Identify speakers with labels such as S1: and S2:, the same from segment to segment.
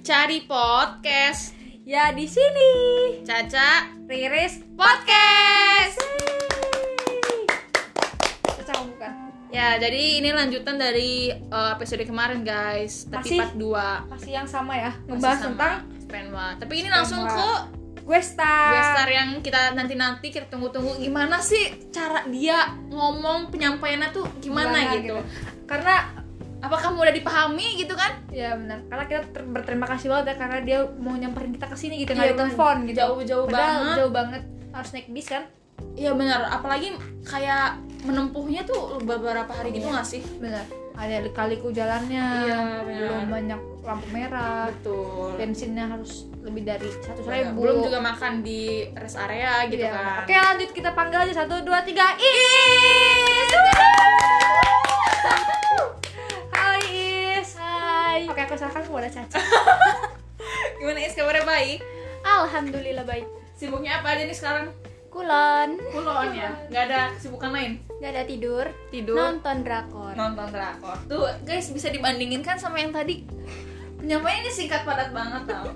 S1: Cari podcast
S2: Ya di sini
S1: Caca
S2: Riris
S1: Podcast.
S2: Cocok bukan?
S1: Ya, jadi ini lanjutan dari uh, episode kemarin guys, tapi
S2: Masih?
S1: part 2.
S2: Masih yang sama ya Ngebahas tentang
S1: Spenwa. Tapi ini langsung
S2: Spenwa.
S1: ke
S2: gue star
S1: Westar yang kita nanti-nanti kita tunggu-tunggu gimana sih cara dia ngomong penyampaiannya tuh gimana, gitu.
S2: Karena
S1: Apakah mudah dipahami gitu kan?
S2: ya benar karena kita ter- berterima kasih banget ya karena dia mau nyamperin kita ke sini gitu
S1: Iya,
S2: nggak
S1: benar.
S2: ditelepon gitu
S1: Jauh-jauh
S2: Padahal
S1: banget.
S2: jauh banget harus naik bis kan
S1: Iya benar, apalagi kayak menempuhnya tuh beberapa hari gitu nggak sih?
S2: benar ada kaliku jalannya
S1: Iya, benar.
S2: belum banyak lampu merah
S1: Betul.
S2: bensinnya harus lebih dari satu
S1: Saya
S2: ribu
S1: belum juga makan di rest area gitu
S2: Iya.
S1: kan.
S2: oke lanjut kita panggil aja satu dua tiga Is Hai Is
S3: Hai,
S2: oke aku serahkan kepada Caca
S1: Gimana Is kabarnya baik?
S3: alhamdulillah baik.
S1: Sibuknya apa aja nih sekarang?
S3: Kulon,
S1: Kulon ya? Gak ada kesibukan lain?
S3: gak ada tidur,
S1: Tidur?
S3: nonton drakor.
S1: Nonton drakor Tuh guys bisa dibandingin kan sama yang tadi Penyampaiannya ini singkat padat banget tau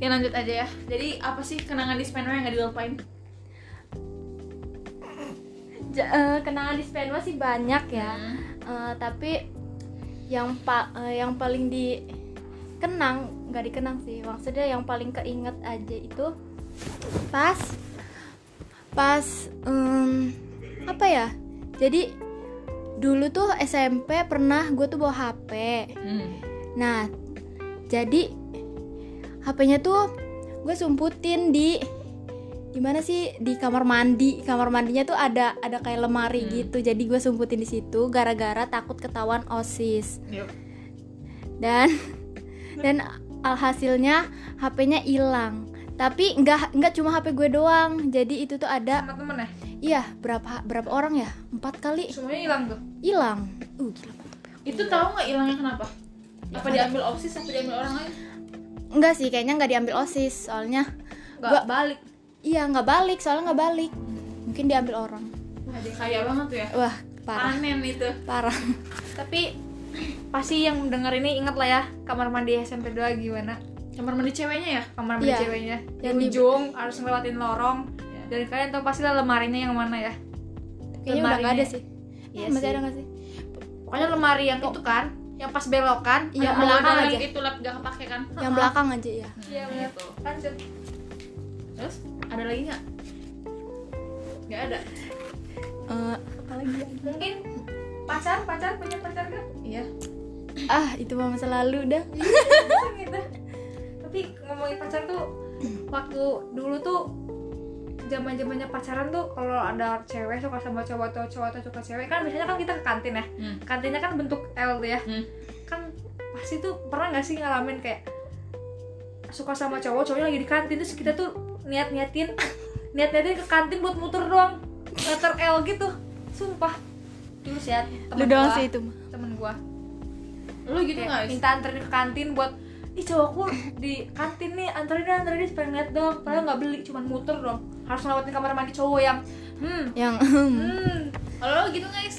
S1: Ya lanjut aja ya Jadi apa sih kenangan di Spenway yang gak dilupain?
S3: Ja- eh, kenangan di Spenwa sih banyak ya, Eh, tapi yang pa- eh, yang paling dikenang nggak dikenang sih, maksudnya yang paling keinget aja itu pas pas em, apa ya? Jadi dulu tuh SMP pernah gue tuh bawa HP.
S1: Hmm.
S3: Nah, jadi HP-nya tuh gue sumputin di di mana sih di kamar mandi. Kamar mandinya tuh ada ada kayak lemari
S1: Hmm.
S3: gitu. Jadi gue sumputin di situ gara-gara takut ketahuan OSIS.
S1: Yuk.
S3: Dan dan alhasilnya HP-nya hilang. Tapi nggak nggak cuma HP gue doang. Jadi itu tuh ada
S2: sama temen ya
S3: iya berapa berapa orang ya? Empat kali
S2: semuanya hilang tuh
S3: hilang. Uh gila.
S1: Itu tahu nggak hilangnya kenapa? Apa diambil OSIS apa diambil orang lain?
S3: Enggak sih, kayaknya nggak diambil OSIS soalnya
S2: nggak
S3: Gua-
S2: balik
S3: Iya nggak balik soalnya nggak balik. Mungkin diambil orang.
S1: Wah, dia kaya banget tuh ya
S3: Wah parah
S1: Panen itu
S3: parah.
S2: tapi pasti yang dengar ini ingat lah ya kamar mandi SMP 2 gimana
S1: Kamar mandi ceweknya ya?
S2: kamar mandi
S3: Iya.
S2: ceweknya di
S3: Yang di-
S2: ujung harus ngelewatin lorong
S1: Iya.
S2: dan kalian tahu pasti lah lemarinya yang mana ya
S3: Kayaknya udah nggak ada
S2: Lemarinya.
S3: sih.
S2: Iya
S3: Eh, masih
S2: sih.
S3: ada nggak sih?
S2: pokoknya lemari yang itu kan yang pas belokan
S3: Iya,
S2: ada
S3: belakang
S2: awalnya.
S1: Ada
S3: aja.
S1: Itu lap gak kepake kan?
S2: Ah,
S3: Yang belakang aja ya.
S2: iya
S1: Hmm,
S2: benar
S1: gitu.
S2: lanjut
S1: Terus ada lagi nggak? Nggak ada.
S3: Eh, apalagi ya?
S2: mungkin pacar pacar punya pacar kan? gak
S1: Iya.
S3: Ah itu mah masa lalu dah.
S2: gitu tapi ngomongin pacar tuh waktu dulu tuh zaman zamannya pacaran tuh kalau ada cewek suka sama cowok atau cowok atau suka cewek kan biasanya kan kita ke kantin ya
S1: Hmm.
S2: kantinnya kan bentuk L tuh ya
S1: Hmm.
S2: kan pasti tuh pernah nggak sih ngalamin kayak suka sama cowok cowoknya lagi di kantin terus kita tuh niat niatin niat niatin ke kantin buat muter doang muter L gitu sumpah dulu sih ya
S3: Lu
S2: temen
S3: doang
S2: gua-
S3: sih itu mah.
S2: temen gua
S1: Lu gitu
S2: Kayak
S1: nggak? Is?
S2: minta anterin ke kantin buat ih cowokku di kantin nih anterin dong, anterin dong, supaya ngeliat dong padahal nggak beli cuman muter dong harus ngelewatin kamar mandi cowok yang hmm
S3: Yang
S2: hmm
S1: Kalau lu gitu nggak? Is?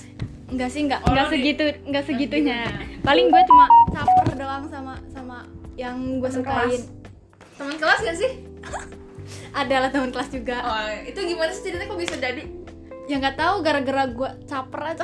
S3: enggak sih enggak
S1: Oh,
S3: enggak
S1: lu di-
S3: segitu enggak segitunya.
S1: segitunya.
S3: Paling gue cuma caper doang sama sama yang gue
S2: Temen
S3: sukain.
S2: kelas.
S1: Teman kelas gak sih?
S3: Adalah teman kelas juga.
S1: Oh, itu gimana sih ceritanya kok bisa jadi?
S3: Yang nggak tahu gara-gara gue caper aja.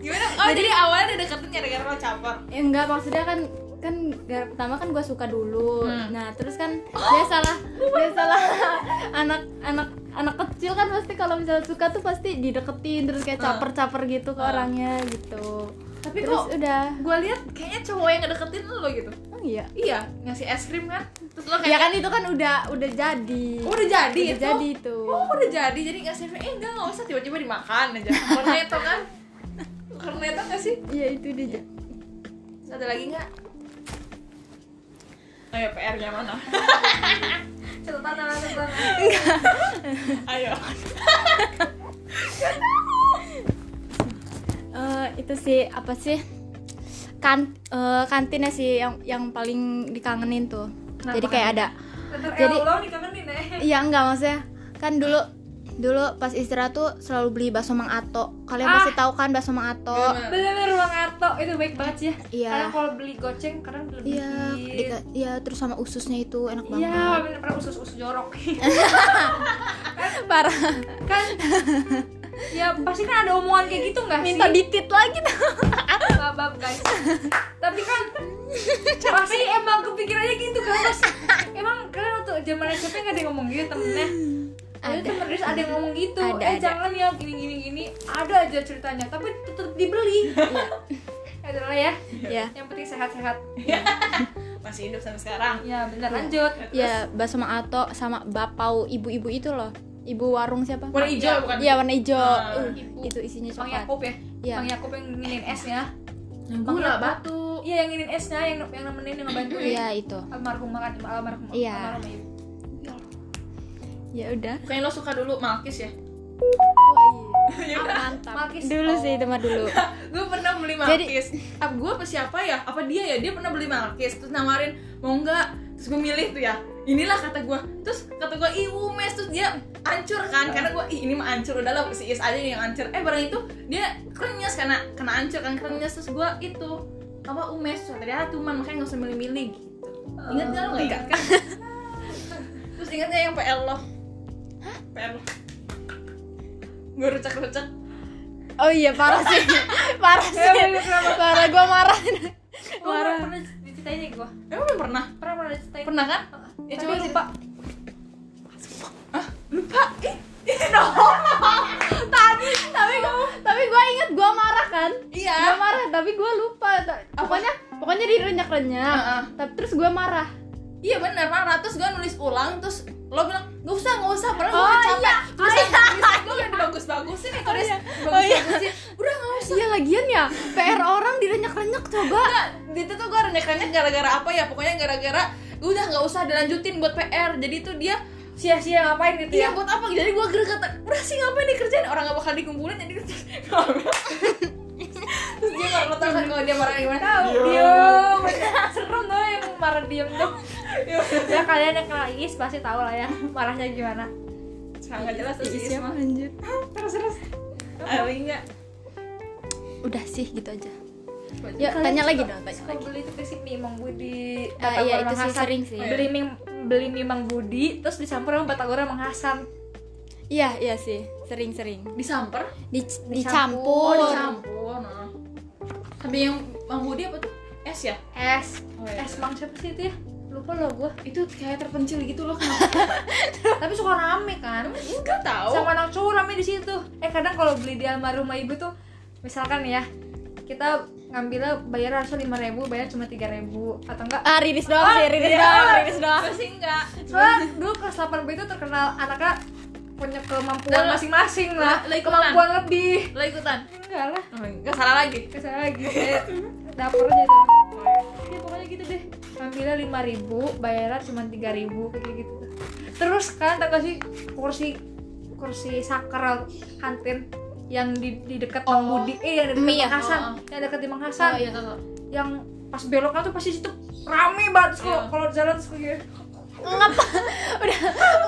S1: Gimana? Oh, jadi, awalnya dia deketin gara-gara lo caper.
S3: ya enggak maksudnya kan kan gara- pertama kan gue suka dulu
S1: Hmm.
S3: nah terus kan dia salah dia salah anak anak anak kecil kan pasti kalau misalnya suka tuh pasti dideketin terus kayak
S1: Ah.
S3: caper caper gitu ke
S1: Ah.
S3: orangnya gitu
S1: Tapi
S3: terus
S1: kok
S3: udah
S1: gue lihat kayaknya cowok yang ngedeketin lo gitu.
S3: oh iya
S1: Iya, ngasih es krim kan? Terus lo
S3: ya
S1: kayak
S3: kan itu kan udah udah jadi
S1: Oh, udah jadi
S3: udah
S1: itu.
S3: jadi itu
S1: Oh, udah jadi. Jadi ngasih es krim. Eh, enggak, enggak usah tiba-tiba dimakan aja. Cornetto kan? Cornetto gak sih?
S3: iya itu dia
S1: Terus ada lagi nggak? Ayo PR-nya mana?
S2: catatan tangan, catatan tangan.
S1: Ayo.
S3: Eh, itu sih apa sih kan eh, kantinnya sih yang yang paling dikangenin tuh
S2: Kenapa
S3: jadi kayak ada
S2: letter L
S3: Jadi-
S2: lo eh, dikangenin ya
S3: Iya enggak maksudnya kan dulu Dulu pas istirahat tuh selalu beli bakso Mang Ato. Kalian
S2: Ah.
S3: pasti tahu kan bakso Mang Ato?
S1: Gimana?
S2: Bener-bener ruang Arto itu baik banget sih ya.
S3: Iya.
S2: Kadang kalau beli goceng kadang lebih.
S3: Iya, dika- iya terus sama ususnya itu
S2: Iya,
S3: enak banget.
S2: bener pernah usus-usus jorok.
S3: Parah.
S2: kan ya pasti kan ada omongan kayak gitu nggak sih?
S3: Minta ditit lagi tuh.
S2: babab guys tapi kan pasti emang kepikirannya gitu kan pasti emang kalian waktu zaman SMP nggak ada yang ngomong gitu temennya ada
S3: Hmm, Ada.
S2: temen Riz ada yang ngomong gitu
S3: Ada,
S2: eh
S3: ada.
S2: jangan ya gini gini gini ada aja ceritanya tapi tetep dibeli adalah ya
S3: Iya.
S2: yang penting sehat-sehat
S1: masih hidup sampai sekarang
S2: ya bener lanjut
S3: Ya, bakso Mang Ato sama bapau ibu-ibu itu loh. Ibu warung siapa?
S1: warna hijau bukan
S3: Iya, warna hijau.
S1: Ah.
S3: Uh,
S2: Ibu.
S3: itu isinya
S2: Bang
S3: coklat.
S2: Yakob ya,
S3: Iya.
S2: Bang Yakob yang nginin esnya
S1: yang
S2: Bang
S1: gula
S2: Yakob.
S1: batu
S2: Iya yang nginin esnya, yang yang nemenin, yang ngebantuin
S3: Iya, itu.
S2: Almarhumah kan, almarhum
S3: Iya.
S2: almarhum ibu Ya Allah.
S3: Ya udah.
S1: Bukannya lo suka dulu malkis ya?
S3: Mantap.
S2: Malkis.
S3: Dulu sih itu mah dulu.
S1: gue pernah beli
S3: Jadi-
S1: malkis apa gue apa siapa ya? apa dia ya? dia pernah beli malkis terus nawarin mau nggak terus gue milih tuh ya inilah kata gue terus kata gue ih mes terus dia ancur kan karena gue ih ini mah ancur udah lah si is aja yang ancur eh barang itu dia krenyes karena kena ancur kan krenyes terus gue itu apa umes terus tadi ah cuman makanya nggak usah milih-milih gitu ingat nggak lo nggak ingat kan terus ingatnya yang pl lo pl gue rucak-rucak
S3: Oh iya, parah sih. parah sih. parah gua marah.
S2: Gua
S3: Marah.
S2: pernah diceritain ya gue
S1: emang belum pernah
S2: pernah pernah diceritain
S1: pernah kan ya
S2: Tapi
S1: coba
S2: lupa.
S1: lupa lupa ih ih, no
S3: tadi tapi gua tapi gua inget gua marah kan
S1: Iya.
S3: gua marah tapi gua lupa Ta- pokoknya pokoknya direnyak renyak
S1: Heeh.
S3: tapi terus gua marah
S1: iya benar marah terus gue nulis ulang terus lo bilang gak usah gak usah padahal
S3: Oh,
S1: gue udah capek
S3: iya.
S1: terus
S3: Oh, iya.
S1: gue udah bagus bagusin nih tulis
S3: iya.
S1: bagus
S3: Oh, iya.
S1: bagusin udah gak usah
S3: iya lagian ya pr orang direnyak renyak coba
S1: Enggak, itu tuh gue rendekannya gara-gara apa ya pokoknya gara-gara gue udah nggak usah dilanjutin buat PR jadi tuh dia
S2: sia-sia ngapain gitu
S1: Iya
S2: ya
S1: buat apa? Jadi gue greget Udah sih ngapain dikerjain? Orang gak bakal dikumpulin jadi terus Terus dia gak tau kan kalau dia marah gimana
S2: tahu diem
S1: Iya.
S2: serem tuh yang marah diem tuh ya kalian yang kenal Iis pasti tahu lah ya marahnya gimana
S1: Serang gak jelas terus
S3: Iya,
S1: Isma
S3: lanjut
S1: Terus terus Ada enggak?
S3: udah sih gitu aja
S1: Coba
S3: yuk
S2: Kalian
S3: tanya lagi
S2: suka-
S3: dong tanya
S2: suka
S3: lagi
S2: beli itu ke sini Mang Budi
S3: Ah, iya, itu sih sering sih.
S2: beli mie beli mie Mang Budi terus dicampur sama batagor Mang Hasan
S3: iya iya sih sering sering
S1: Disamper?
S3: Dic-
S2: Dicampur.
S3: dicampur,
S1: Oh dicampur nah. Tapi yang Bang Budi apa tuh? Es ya?
S2: es
S1: Oh, iya.
S2: es Mang siapa sih itu ya lupa loh gue
S1: Itu kayak terpencil gitu loh kenapa?
S2: tapi suka rame kan
S1: Enggak tahu.
S2: sama anak cowok rame di situ eh kadang kalau beli di almarhumah ibu tuh misalkan ya kita ngambilnya bayar harusnya lima ribu bayar cuma tiga ribu atau enggak
S3: ah riris doang sih
S1: iya.
S3: riris doang riris doang
S1: Pasti enggak.
S2: soalnya dulu kelas 8 B itu terkenal anaknya punya kemampuan
S1: Lah,
S2: masing-masing lah
S1: lah, ikutan.
S2: kemampuan lebih
S1: Lo ikutan?
S2: enggak lah
S1: Oh, Enggak salah lagi.
S2: kesana lagi saya dapur aja tuh ya pokoknya gitu deh ngambilnya lima ribu bayarnya cuma tiga ribu kayak gitu terus kan tau gak sih kursi kursi sakral kantin yang di, di dekat Mang
S1: Oh.
S2: Budi eh yang di dekat
S3: Mie ya?
S2: Mang Hasan
S1: Oh, oh.
S2: yang dekat di Mang Hasan
S1: Oh iya tahu. tahu.
S2: yang pas belokan tuh pasti situ rame banget Terus kalau
S1: Iya.
S2: kalau jalan terus kayak gini.
S3: ngap udah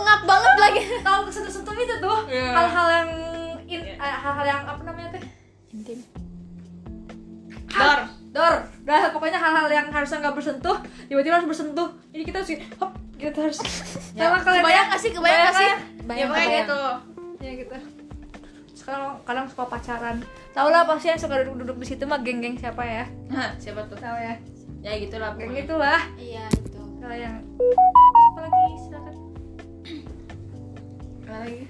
S3: ngap banget lagi
S2: tahu kesentuh-sentuh itu tuh
S1: Iya.
S2: hal-hal yang in,
S1: Iya.
S2: eh, hal-hal yang apa namanya teh
S3: intim
S1: Dor.
S2: dor dah pokoknya hal-hal yang harusnya nggak bersentuh tiba-tiba harus bersentuh jadi kita harus gini, hop kita harus sama kalian
S1: Ya, kebayang gak sih? Kebayang gak sih?
S3: Bayang,
S1: ya pokoknya
S3: kebayang.
S1: gitu.
S2: ya gitu sekarang kadang suka pacaran tau lah pasti yang suka duduk-duduk di situ mah geng-geng siapa ya
S1: Hah, siapa tuh?
S2: tau ya
S1: Ya gitu lah.
S2: geng itulah
S3: iya itu
S2: kalau yang apa lagi silakan
S1: Apa lagi?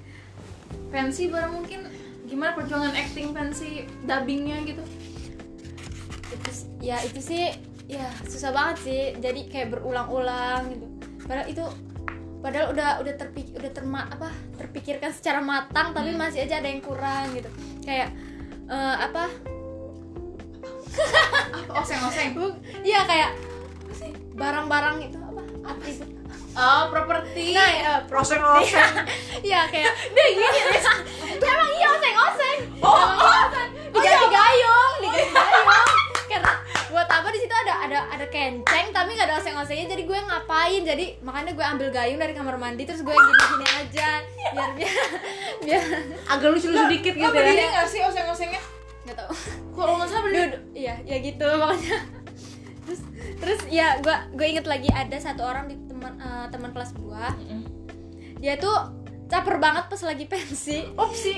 S1: Pensi barang mungkin gimana perjuangan acting pensi dubbingnya gitu
S3: itu s- ya itu sih ya susah banget sih jadi kayak berulang-ulang gitu padahal itu padahal udah udah terpik udah terma apa terpikirkan secara matang tapi masih aja ada yang kurang gitu kayak eh, apa
S1: apa oseng oseng
S3: Bu- iya kayak apa sih barang-barang itu apa atribut
S1: oh properti
S3: nah ya,
S2: proses ngoseng
S3: iya, kayak deh gini emang iya oseng-oseng
S1: Oh,
S3: Emang iya, oseng. diganti
S1: iya.
S3: gayung diganti gayung karena buat apa di situ ada ada ada kenceng tapi nggak ada oseng AC-nya jadi gue ngapain jadi makanya gue ambil gayung dari kamar mandi terus gue gini gini aja biar biar biar
S2: agak lucu-lucu dikit
S1: Lo
S2: gitu
S1: beli
S2: ya.
S1: nggak sih oseng-osengnya?
S3: nggak tahu
S1: Kalau nggak salah beli
S3: Duh, duh, iya ya gitu pokoknya terus terus ya gue gue inget lagi ada satu orang di teman eh, teman kelas gue dia tuh caper banget pas lagi pensi
S1: opsi.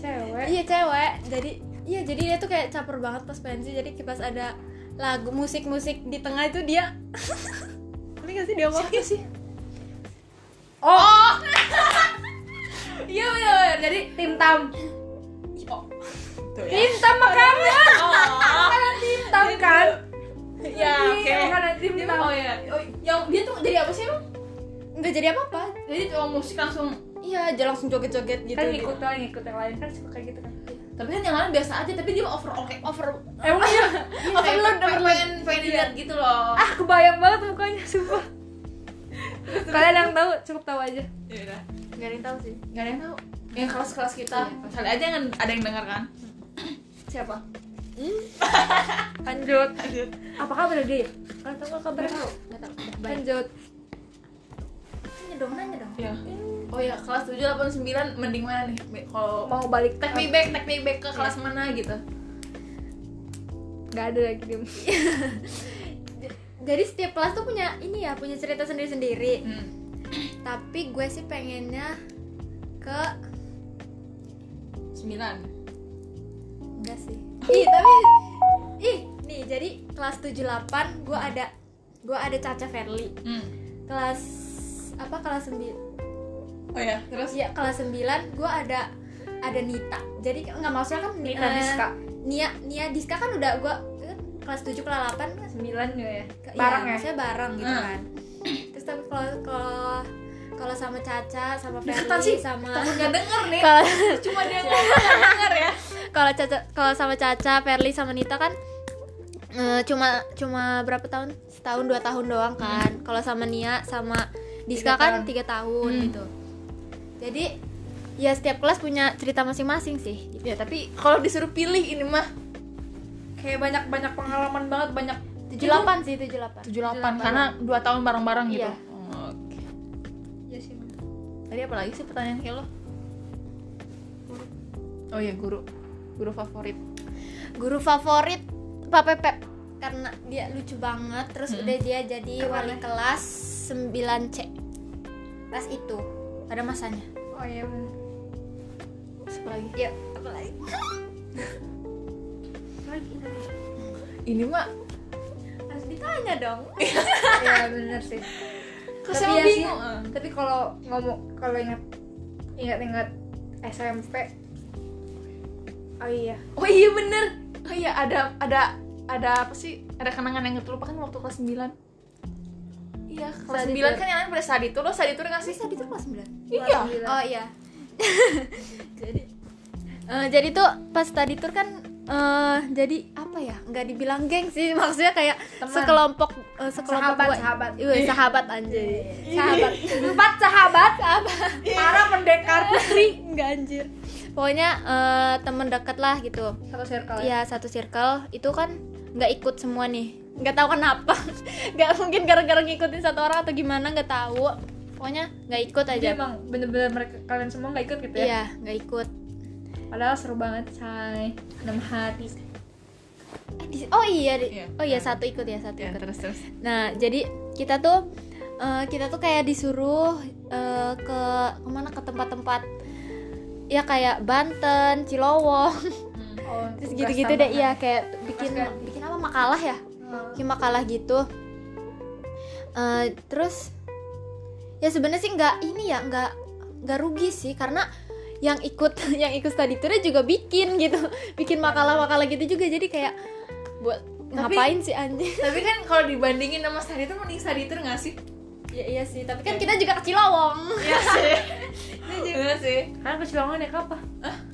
S2: Cewek.
S3: Iya cewek. Jadi iya jadi dia tuh kayak caper banget pas pensi. Jadi kayak pas ada lagu musik-musik di tengah itu dia Ini gak sih dia mau sih?
S1: Oh. Iya benar benar. Jadi
S2: Tim Tam.
S1: oh. Tuh ya.
S2: Tim Tam sama kamu.
S1: Oh.
S2: Tim Tam kan.
S1: Ya, oke.
S2: Iya, bukan ada Tim
S1: Dia
S2: Tam.
S1: mah- Oh ya. Oh, yang dia tuh jadi apa sih emang?
S3: Nggak jadi apa-apa.
S1: Jadi tukang musik langsung
S3: Iya, dia langsung joget-joget gitu.
S2: Kan
S3: gitu.
S2: ngikut yang ngikut yang lain kan suka kayak gitu kan.
S1: tapi kan yang lain biasa aja tapi dia mah over over over
S2: Emang iya.
S1: ya? overload pengen pengen dilihat gitu loh
S2: ah kebayang banget mukanya sumpah. Kalian yang tahu cukup tahu aja.
S1: ya udah
S4: nggak ada yang tahu sih
S1: nggak ada yang tahu Iya, yang kelas kelas kita kali aja yang ada yang dengar kan siapa
S2: Hmm? Lanjut.
S1: lanjut
S2: Apa kabar dia? Kalian tahu nggak kabar?
S4: nggak tahu
S3: Kan
S2: Lanjut.
S4: nanya dong nanya dong
S1: ya oh ya kelas tujuh delapan sembilan mending mana nih Be- kalau
S2: Mau balik
S1: take me back take me back ke kelas mana gitu
S2: Gak ada lagi diem.
S3: Jadi setiap kelas tuh punya ini ya, punya cerita sendiri-sendiri.
S1: hmm.
S3: Tapi gue sih pengennya ke
S1: sembilan
S3: enggak sih. Ih, tapi ih, nih jadi kelas 78 gue ada gue ada Caca Verly.
S1: hmm.
S3: Kelas apa kelas 9
S1: oh ya terus
S3: Iya kelas 9 gue ada ada Nita. Jadi nggak maksudnya kan
S2: Nita
S3: eh,
S2: Diska.
S3: Nia Nia Diska kan udah gue kelas 7 kelas 8 kan
S2: Sembilan juga ya.
S3: ke-
S2: Barang
S3: iya,
S2: ya.
S3: maksudnya bareng gitu
S1: Hmm.
S3: kan. Terus tapi kalau kalau kalau sama Caca sama
S1: Deketan sih.
S3: Ferry sama
S1: takut nggak denger nih
S3: kalau
S1: cuma dia ngomong nggak denger ya
S3: kalau Caca kalau sama Caca Ferly sama Nita kan eh, cuma cuma berapa tahun setahun dua tahun doang kan kalau sama Nia sama
S2: Hmm. Tiga
S3: Diska kan
S2: tahun.
S3: tiga tahun
S1: Hmm.
S3: gitu jadi ya setiap kelas punya cerita masing-masing sih
S1: ya tapi kalau disuruh pilih ini mah
S2: Kayak banyak-banyak pengalaman banget, banyak
S3: 78 sih 78
S1: tujuh delapan karena dua tahun bareng bareng gitu
S3: Iya.
S1: Oh, oke
S2: Iya sih. bener.
S1: Tadi apa lagi sih pertanyaan kayak lo? Oh iya guru Guru favorit
S3: guru favorit Pak Pepep karena dia lucu banget terus udah dia jadi wali kelas 9C pas itu pada masanya
S2: Oh iya bener.
S1: Siapa lagi?
S3: ya apalagi
S2: Lagi.
S1: Ini mah
S3: harus ditanya dong
S2: Iya bener sih.
S1: Kok
S2: Tapi
S1: saya
S2: ya sih,
S1: bingung? eh.
S2: tapi kalau ngomong kalau ingat ingat-ingat SMP oh iya
S1: Oh iya bener Oh iya ada ada ada apa sih? Ada kenangan yang terlupakan waktu kelas 9 Iya kelas 9 kan yang lain pada saat itu Lo saat itu nggak sih?
S3: tadi tuh kelas 9
S1: Iya
S2: Gila.
S3: Oh iya. jadi eh, jadi tuh pas tadi tur kan eh, jadi apa ya? Nggak dibilang geng sih, maksudnya kayak
S2: Teman.
S3: sekelompok eh, sekelompok
S2: Sahabat,
S3: gua-
S2: sahabat.
S3: Iya, sahabat anjir. Sahabat.
S2: empat sahabat
S1: Iya.
S2: para pendekar putri
S3: Enggak anjir. Pokoknya eh, temen dekat lah gitu.
S2: satu circle ya
S3: Iya, satu circle itu kan nggak ikut semua nih. Nggak tahu kenapa. Nggak mungkin gara-gara ngikutin satu orang atau gimana nggak tahu. Pokoknya nggak ikut
S2: jadi
S3: aja.
S2: emang bener-bener mereka kalian semua nggak ikut gitu ya
S3: Iya, nggak ikut.
S2: padahal seru banget say enam hati
S3: Eh, di- Oh iya, di-
S1: Iya.
S3: oh iya satu ikut ya satu
S1: Ya
S3: ikut.
S1: terus terus
S3: Nah jadi kita tuh eh, kita tuh kayak disuruh eh, ke kemana ke tempat-tempat ya kayak Banten, Cilowong,
S2: oh, tugas
S3: terus gitu-gitu deh.
S2: tambahan.
S3: Iya kayak bikin
S2: Tugas kan?
S3: bikin apa makalah ya,
S2: Oh.
S3: bikin makalah gitu. Eh, terus ya sebenarnya sih nggak ini ya nggak nggak rugi sih karena yang ikut yang ikut study tournya juga bikin gitu, bikin makalah-makalah gitu juga jadi kayak buat
S1: Tapi-
S3: ngapain sih anjing
S1: Tapi kan kalau dibandingin sama saat itu Mending saat itu nggak sih?
S3: Ya, iya sih, tapi kan kita juga ke Cilawong.
S1: Iya sih Iya sih
S2: kalian ke Cilongan kan naik apa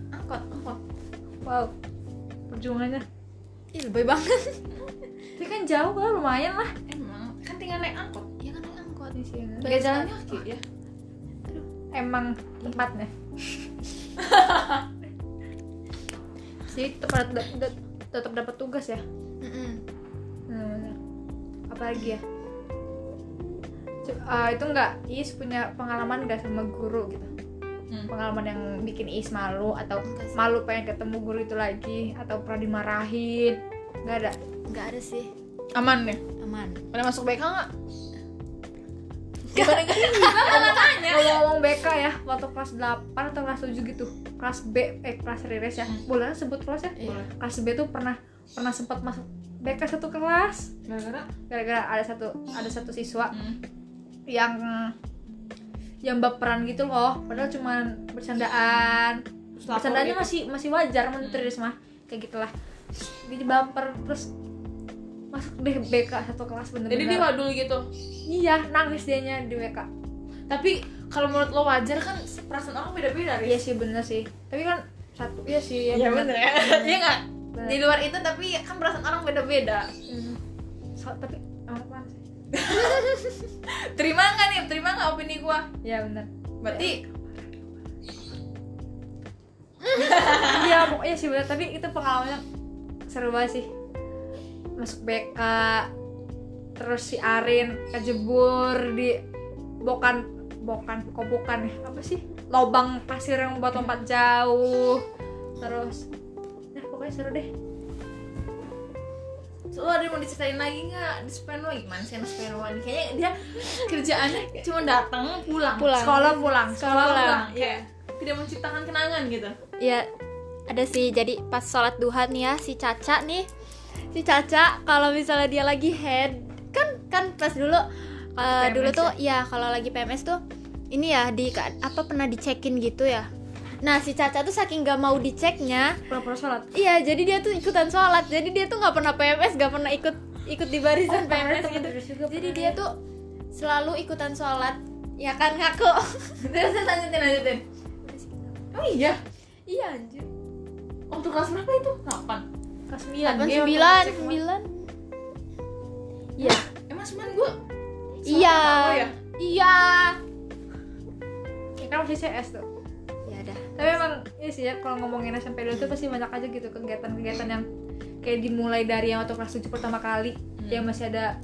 S1: Angkot angkot
S2: wow perjuangannya
S3: Ih, lebay banget.
S2: tapi kan jauh lah lumayan lah
S1: Emang kan tinggal naik angkot
S3: Iya kan naik angkot.
S2: di sini
S3: Banyak
S1: Jalan
S3: sekali.
S1: kaki ya
S2: emang tempatnya jadi tetap tetap dapat tugas ya
S3: Mm-mm.
S2: apalagi Hmm, ya Co- eh, itu nggak Is punya pengalaman nggak sama guru gitu
S1: Hmm.
S2: pengalaman yang bikin Is malu atau
S3: Enggak sih.
S2: malu pengen ketemu guru itu lagi atau pernah dimarahin nggak ada
S3: nggak ada sih
S1: aman ya
S3: aman
S1: pada masuk BK nggak
S2: ngomong-ngomong BK ya waktu kelas 8 atau kelas 7 gitu kelas B eh kelas Rires
S1: Hmm.
S2: ya boleh kan sebut kelas ya
S1: Boleh.
S2: kelas B tuh pernah pernah sempat masuk BK satu kelas
S1: gara-gara
S2: gara-gara ada satu ada satu siswa
S1: hmm.
S2: yang yang baperan gitu loh padahal cuman bercandaan
S1: terus lapor
S2: bercandanya
S1: gitu.
S2: masih masih wajar menurut Riris mah kayak gitulah Terus dia baper terus masuk deh BK satu kelas
S1: jadi dia
S2: bener-bener
S1: wadul gitu
S2: iya nangis dianya di BK
S1: tapi kalau menurut lo wajar kan perasaan orang beda-beda
S2: iya
S1: Riz
S2: sih bener sih tapi kan satu iya sih
S1: iya bener ya iya nggak
S2: Bener. Hmm.
S1: di luar itu tapi kan perasaan orang beda-beda
S2: So- tapi emang apaan sih?
S1: terima nggak nih terima nggak opini gua
S2: iya bener
S1: berarti
S2: iya pokoknya sih bener tapi itu pengalamannya seru banget sih masuk BK terus si Arin kejebur di bokan bokan kok bokan ya apa sih lobang pasir yang buat lompat jauh terus nah pokoknya seru deh
S1: lo ada yang mau diceritain lagi nggak di Spenwa gimana sih anak Spenwa nih? kayaknya dia kerjaannya cuma datang pulang
S3: Pulang.
S2: sekolah pulang
S1: sekolah pulang iya.
S3: Pulang,
S1: kayak tidak menciptakan kenangan gitu
S3: ya ada sih jadi pas sholat duha nih ya si Caca nih si Caca kalau misalnya dia lagi head kan kan pas dulu eh,
S2: PMS
S3: dulu tuh ya kalau lagi PMS tuh ini ya di apa pernah dicekin gitu ya nah si Caca tuh saking gak mau diceknya
S2: pura-pura sholat
S3: iya jadi dia tuh ikutan sholat jadi dia tuh nggak pernah PMS gak pernah ikut ikut di
S2: Oh,
S3: barisan PMS gitu jadi dia tuh selalu ikutan sholat ya kan ngaku
S1: terus terus lanjutin lanjutin oh iya
S3: iya anjir
S1: waktu kelas berapa itu kapan
S2: kelas 9
S1: Iya,
S3: sembilan sembilan
S1: emang cuman gua
S3: Iya.
S1: Sama ya?
S3: Iya.
S2: ya kan masih CS tuh
S3: Ya dah.
S2: tapi emang iya sih ya kalau ngomongin SMP dulu tuh pasti banyak aja gitu kegiatan-kegiatan yang kayak dimulai dari yang waktu kelas 7 pertama kali
S1: Hmm.
S2: yang masih ada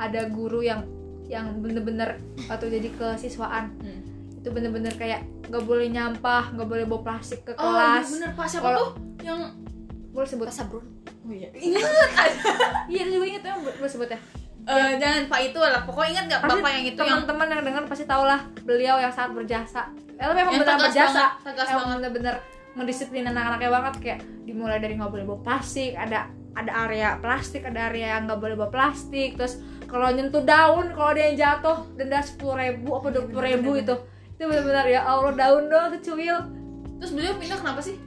S2: ada guru yang yang bener-bener atau jadi kesiswaan
S1: Hmm.
S2: itu bener-bener kayak nggak boleh nyampah nggak boleh bawa plastik ke
S1: oh iya
S2: kelas
S1: bener pak siapa
S2: Kalau-
S1: tuh yang
S2: boleh sebut
S1: oh iya ingat
S2: iya itu juga inget tuh boleh sebut ya
S1: Eh, jangan pak itu lah pokoknya ingat nggak bapak yang itu yang
S2: teman-teman yang dengar pasti tau lah beliau yang sangat berjasa ya memang
S1: Yang
S2: benar
S1: tegas
S2: berjasa
S1: banget, tegas
S2: emang
S1: banget.
S2: bener-bener mendisiplin anak-anaknya banget kayak dimulai dari nggak boleh bawa plastik ada ada area plastik ada area yang nggak boleh bawa plastik terus kalau nyentuh daun kalau ada yang jatuh denda sepuluh ribu apa dua ribu itu itu benar-benar ya allah daun dong secuil
S1: terus beliau pindah kenapa sih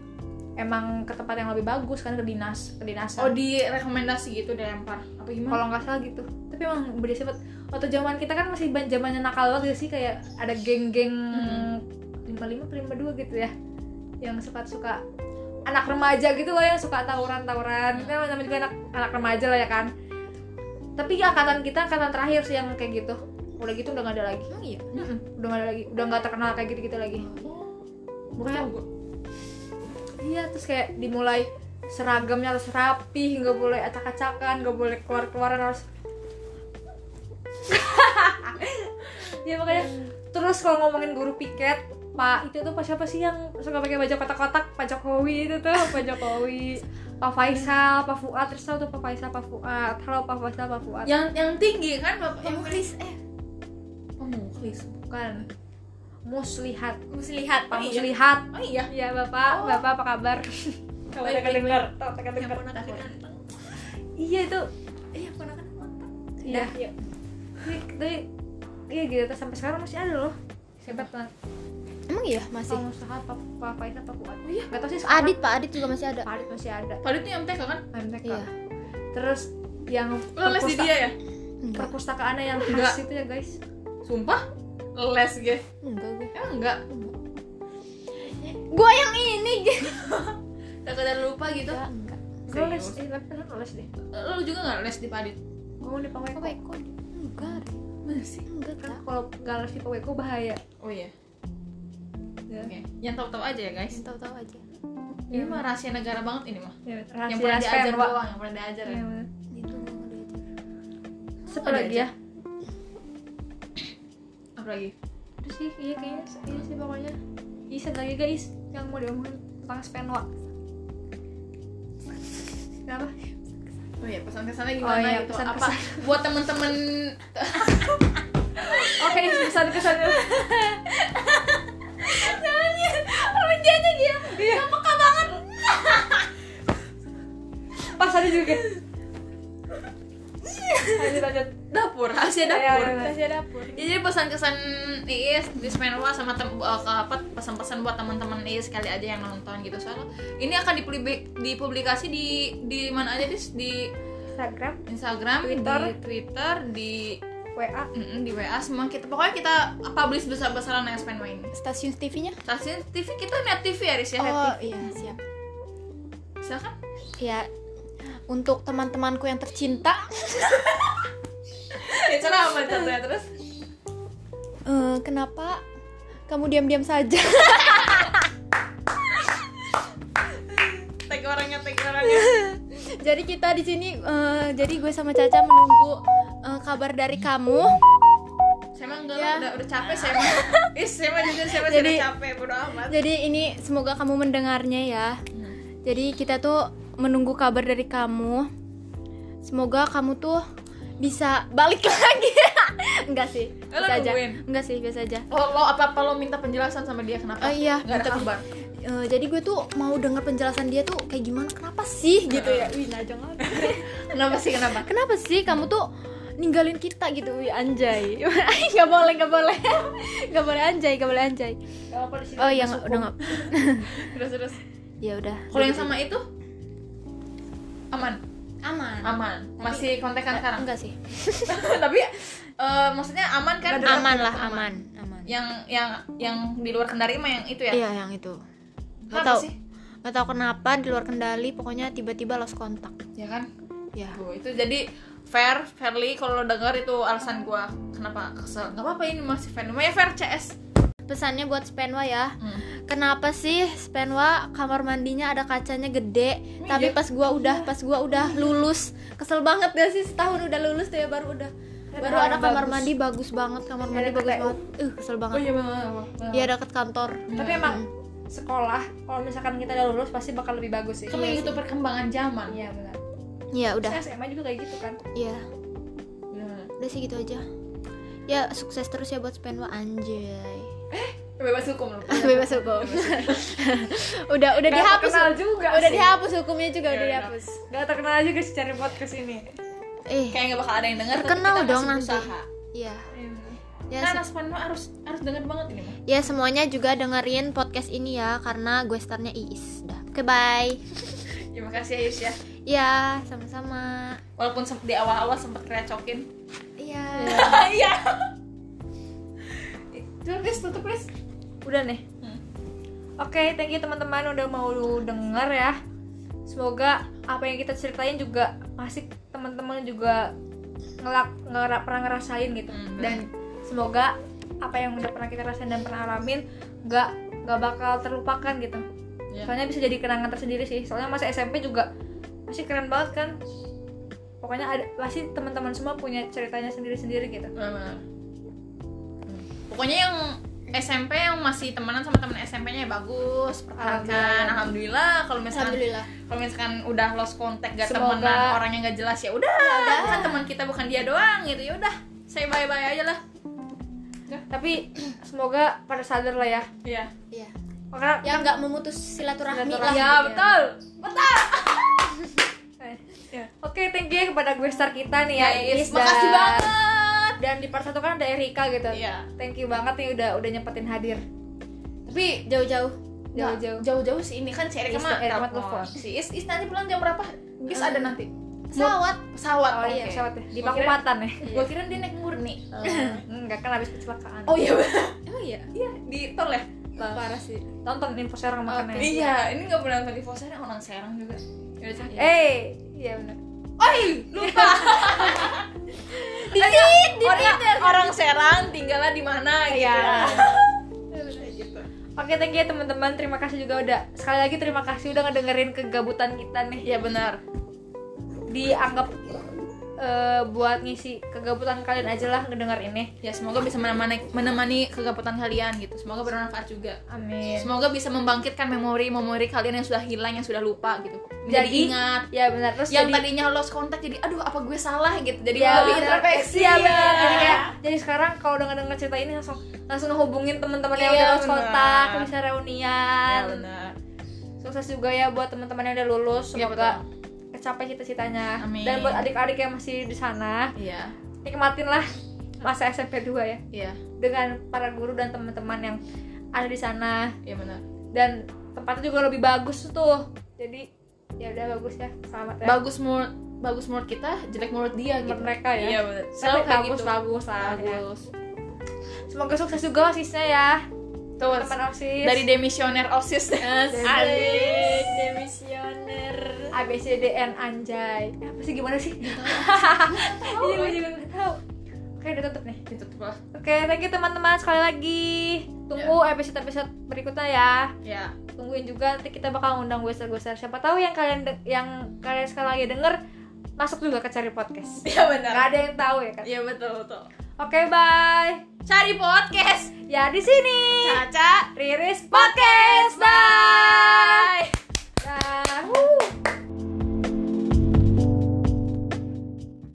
S2: emang ke tempat yang lebih bagus kan ke dinas ke dinasan
S1: oh direkomendasi gitu dilempar apa gimana
S2: kalau nggak salah gitu tapi emang beda sempet waktu zaman kita kan masih ban zamannya nakal banget gitu sih kayak ada geng-geng lima lima lima dua gitu ya yang suka suka anak remaja gitu loh yang suka tawuran tawuran kan namanya juga anak anak remaja lah ya kan tapi angkatan kita angkatan terakhir sih yang kayak gitu udah gitu udah nggak ada lagi
S3: Emang iya.
S2: Mm-mm,
S1: Hmm.
S2: udah nggak ada lagi udah nggak terkenal kayak gitu gitu lagi bukannya
S1: Tahu gua.
S2: Iya, terus kayak dimulai seragamnya harus rapi, nggak boleh acak-acakan, nggak boleh keluar-keluaran harus. ya makanya. Terus kalau ngomongin guru piket, Pak itu tuh Pak siapa sih yang suka pakai baju kotak-kotak? Pak Jokowi itu tuh, Pak Jokowi. Pak Faisal, Pak Fuad, terus tau tuh Pak Faisal, Pak Fuad. Halo Pak Faisal, Pak Fuad.
S1: yang yang tinggi kan bapak yang
S3: Pemulis eh
S1: Oh, Mukhlis.
S2: Bukan. Muslihat,
S3: muslihat.
S2: Pak
S1: Oh, iya.
S2: Muslihat.
S1: Oh iya.
S2: Iya, Bapak,
S1: Oh.
S2: Bapak apa kabar?
S1: Baik, baik,
S2: Tahu
S1: Yang
S2: kedengar.
S1: ponakan ganteng.
S2: Iya itu.
S1: Iya, ponakan ganteng.
S2: Iya.
S1: Dah, yuk.
S2: tapi tapi iya gitu terus sampai sekarang masih ada loh hebat banget
S3: Emang iya masih.
S2: kalau usaha apa apa apa itu apa kuat
S1: iya.
S2: Oh, nggak tahu sih sekarang
S3: Adit Pak Adit juga masih ada.
S2: Pak Adit masih ada
S1: Padahal itu yang TK kan?
S2: MTK
S3: Iya.
S2: terus yang
S1: Lo les di
S2: perpusta-
S1: dia ya?
S3: Enggak.
S2: perpustakaannya yang
S1: Enggak.
S2: khas itu ya guys
S1: Sumpah? Les gue.
S3: Enggak gue.
S1: Emang enggak?
S3: Gue yang ini.
S1: Takut ada lupa gitu.
S3: Enggak, enggak.
S2: gue les
S1: Serius?
S2: eh tapi kan les deh
S1: Lo juga enggak les di Padit?
S2: gue di paweko
S3: Apa Eko? gitu? Enggak.
S1: Masih.
S3: Enggak
S2: kan
S3: tak.
S2: kalau nggak les di paweko bahaya
S1: Oh iya.
S2: ya,
S1: Oke. Yang tahu-tahu aja ya, guys.
S3: Tahu-tahu aja.
S1: Ini mah rahasia negara banget ini mah.
S2: ya
S1: Yang
S2: rahasia
S1: pernah diajar ya.
S2: sperma
S1: doang, yang pernah diajar.
S2: Ya, bener.
S3: Itu enggak ada
S2: Apa
S3: aja.
S2: lagi ya?
S1: Apa lagi?
S2: Udah sih, iya kayaknya iya sih pokoknya. Isen lagi guys yang mau diomongin tentang spenwa. Kenapa?
S1: Oh iya, pesan kesannya gimana
S2: iya,
S1: gitu?
S2: pesan
S1: Apa buat temen-temen
S2: Oke, pesan kesannya.
S1: kerjanya dia? Iya. Peka banget.
S2: Pas tadi juga. Lanjut lanjut.
S1: Dapur, rahasia
S2: Iya,
S1: dapur.
S2: iya, iya.
S4: Rahasia dapur.
S1: Ya, Jadi pesan-kesan Iis di Spenwa sama tem eh, ke- apa pesan-pesan buat teman-teman Iis kali aja yang nonton gitu soalnya ini akan dipubli- dipublikasi di di mana aja Dis? di
S2: Instagram,
S1: Instagram,
S2: Twitter.
S1: di Twitter, di
S2: WA,
S1: mm, di WA semua kita pokoknya kita publish besar-besaran yang Spenwa ini.
S3: Stasiun TV-nya?
S1: Stasiun TV kita net TV ya Riz ya.
S3: Oh iya siap.
S1: Silakan.
S3: Ya untuk teman-temanku yang tercinta,
S1: Ya cara apa contohnya terus?
S3: eh, kenapa kamu diam-diam saja?
S1: Tag orangnya, tag orangnya.
S3: jadi kita di sini, eh, jadi gue sama Caca menunggu eh, kabar dari kamu.
S1: Saya emang enggak
S3: Ya.
S1: lah, udah, udah capek saya mah. Is, saya mah jujur saya mah
S3: Jadi-
S1: sudah capek, bodo amat.
S3: Jadi ini semoga kamu mendengarnya ya. Jadi kita tuh menunggu kabar dari kamu. Semoga kamu tuh bisa balik lagi. Enggak sih.
S1: Eh, lo
S3: Biasa aja.
S1: nungguin?
S3: Enggak sih, biasa aja.
S1: Lo, lo apa apa lo minta penjelasan sama dia kenapa?
S3: Oh iya,
S1: Gak ada
S3: minta-
S1: kabar.
S3: Eh, jadi gue tuh mau dengar penjelasan dia tuh kayak gimana kenapa sih gitu ya wih najong banget.
S1: Kenapa sih kenapa?
S3: kenapa sih kamu tuh ninggalin kita gitu wih anjay nggak boleh nggak boleh nggak boleh anjay nggak boleh anjay
S2: apa di sini?
S3: oh yang udah nggak
S1: Terus terus.
S3: ya udah
S1: Kalau yang sama itu aman,
S3: aman
S1: aman. Masih kontekan sekarang.
S3: enggak sih
S1: Tapi eh, maksudnya aman kan?
S3: aman lah aman aman
S1: Yang yang yang di luar kendari mah yang itu ya.
S3: iya yang itu nggak
S1: Kenapa
S3: tahu
S1: sih?
S3: nggak tahu kenapa di luar kendali pokoknya tiba-tiba lost kontak
S1: Ya kan?
S3: ya
S1: Tuh, itu jadi fair, fairly kalau lo denger itu alasan gua kenapa kesel. Gak apa-apa ini masih fair. Namanya fair CS.
S3: pesannya buat Spenwa ya
S1: Hmm.
S3: kenapa sih Spenwa kamar mandinya ada kacanya gede tapi pas gua udah pas gua udah lulus kesel banget gak sih setahun udah lulus tuh ya baru udah baru
S2: ada
S3: ada kamar
S2: bagus.
S3: mandi bagus Iya, banget kamar mandi
S2: deket
S3: bagus
S2: TU.
S3: banget uh kesel
S2: Oh,
S3: banget
S1: iya benar.
S3: dia dekat kantor
S2: Tapi emang sekolah kalau misalkan kita udah lulus pasti bakal lebih bagus sih.
S1: Kamu itu perkembangan zaman.
S2: Iya benar.
S3: ya udah
S2: Terus SMA juga kayak gitu kan.
S3: ya
S1: Bener.
S3: udah sih gitu aja ya sukses terus ya buat Spenwa anjay
S1: Bebas hukum lo.
S3: bebas hukum udah udah
S2: Nggak
S3: dihapus
S2: terkenal juga
S3: udah
S2: sih.
S3: dihapus hukumnya juga
S1: Ya
S3: udah
S1: udah.
S3: dihapus
S2: Gak terkenal juga sih cari podcast ini.
S3: eh
S1: Kayak gak bakal ada yang denger tapi
S3: Terkenal
S1: kita masih
S3: dong nanti.
S1: usaha.
S3: iya
S1: Ya,
S3: ya
S1: nah,
S3: se-
S1: Nas Panwa harus harus denger banget ini. mah.
S3: ya semuanya juga dengerin podcast ini ya karena gue starnya Iis dah oke bye
S1: Terima kasih ya Yus ya.
S3: ya sama-sama
S1: Walaupun sem- di awal-awal sempet kerecokin.
S3: iya
S1: Iya. Tuh, Riz, tutup, Riz.
S2: Udah nih.
S1: Hmm.
S2: Oke, thank you teman-teman udah mau denger ya. Semoga apa yang kita ceritain juga masih teman-teman juga ngelak ngera, pernah ngerasain gitu.
S1: Hmm,
S2: Dan semoga apa yang udah pernah kita rasain dan pernah alamin nggak nggak bakal terlupakan gitu.
S1: Iya.
S2: Soalnya bisa jadi kenangan tersendiri sih. Soalnya masa SMP juga masih keren banget kan. Pokoknya ada pasti teman-teman semua punya ceritanya sendiri-sendiri gitu.
S1: Benar. Hmm. Pokoknya yang SMP yang masih temenan sama temen SMP-nya ya bagus, pertahankan. Alhamdulillah kalau misalkan
S3: alhamdulillah
S1: kalau misalkan udah lost contact gak
S2: Semoga-
S1: temenan orangnya nggak jelas ya udah, kan teman kita bukan dia doang gitu ya udah. Saya bye-bye aja lah.
S2: Tapi semoga pada sadar lah ya.
S1: Iya.
S3: iya
S2: Karena
S3: yang nggak memutus silaturahmi
S2: Silaturahmi.
S3: lah gitu
S2: Iya,
S1: Ya, betul. Betul.
S2: Eh,
S1: Ya.
S2: Oke, thank you kepada gue star kita nih ya, Iis
S1: Iya,
S2: dan-
S1: Makasih banget.
S2: Dan di part satu kan ada Erika gitu.
S1: Iya.
S2: Thank you banget nih udah udah nyempetin hadir.
S1: Tapi
S3: jauh-jauh
S1: Nah,
S2: Jauh-jauh.
S1: jauh-jauh sih ini kan si Erika
S2: Is-
S1: mah
S2: Erika mah
S1: telepon.
S2: telepon.
S1: Si Is, Is nanti pulang jam berapa? Is ada nanti.
S3: pesawat
S1: Pesawat.
S2: Oh iya,
S1: oke.
S2: pesawat ya. Di
S1: Gua kira-
S2: Pakupatan ya.
S1: Gua kira dia naik murni.
S2: Enggak kan habis kecelakaan.
S1: Oh iya.
S3: emang iya
S1: Oh. Iya, di tol ya?
S3: parah sih
S2: Tonton info serang makannya.
S1: Iya, ini nggak boleh nonton di Fosera orang Serang juga. Ya udah, Cak.
S2: Eh, iya benar.
S1: Oi, lupa.
S3: dikit
S1: orang, orang Serang tinggalnya di mana gitu.
S2: Iya.
S1: Ya.
S2: Oke, thank you ya, teman-teman. Terima kasih juga udah sekali lagi terima kasih udah ngedengerin kegabutan kita nih.
S1: Iya benar.
S2: Dianggap eh, buat ngisi kegabutan kalian aja lah ngedengar ini
S1: ya semoga bisa menemani, menemani kegabutan kalian gitu semoga bermanfaat juga
S2: amin
S1: semoga bisa membangkitkan memori-memori kalian yang sudah hilang yang sudah lupa gitu jadi
S2: Jadi,
S1: ingat
S2: ya benar terus
S1: yang
S2: jadi-
S1: tadinya lost kontak jadi aduh apa gue salah gitu jadi
S2: ya,
S1: lebih
S2: benar.
S1: introspeksi "Ah,
S2: Iya, benar. Jadi kayak jadi sekarang kalau udah denger cerita ini langsung langsung ngehubungin teman-teman yang
S1: Iya,
S2: udah lost
S1: benar.
S2: kontak bisa
S1: ya,
S2: reunian
S1: benar
S2: sukses juga ya buat teman-teman yang udah lulus
S1: Iya,
S2: semoga kecapai cita-citanya
S1: Amin.
S2: dan buat adik-adik yang masih di sana
S1: iya
S2: nikmatinlah masa SMP 2 ya
S1: iya
S2: dengan para guru dan teman-teman yang ada di sana
S1: iya benar
S2: dan tempatnya juga lebih bagus tuh jadi ya udah bagus ya selamat ya
S1: bagus menurut bagus menurut kita jelek menurut dia
S2: Menurut
S1: gitu
S2: mereka ya
S1: iya benar
S2: Tapi
S1: selalu kayak
S2: bagus,
S1: gitu
S2: bagus lah ya.
S1: bagus
S2: Semoga sukses juga osisnya ya
S1: Tuh,
S2: Teman osis
S1: dari demisioner osis
S2: Alis
S3: demisioner
S2: ABCDN E anjay Apa sih gimana sih? Ini gue juga gak tau Oke udah tutup nih
S1: ditutup lah
S2: Oke thank you teman-teman sekali lagi Tunggu episode-episode berikutnya ya
S1: ya
S2: Tungguin juga nanti kita bakal ngundang goser-goser Siapa tahu yang kalian de- yang kalian sekali lagi denger Masuk juga ke cari podcast
S1: iya
S2: Gak
S1: benar
S2: ada yang tahu ya kan
S1: iya betul betul
S2: Oke bye
S1: cari podcast
S2: Ya di sini
S1: Caca
S2: Riris Podcast Bye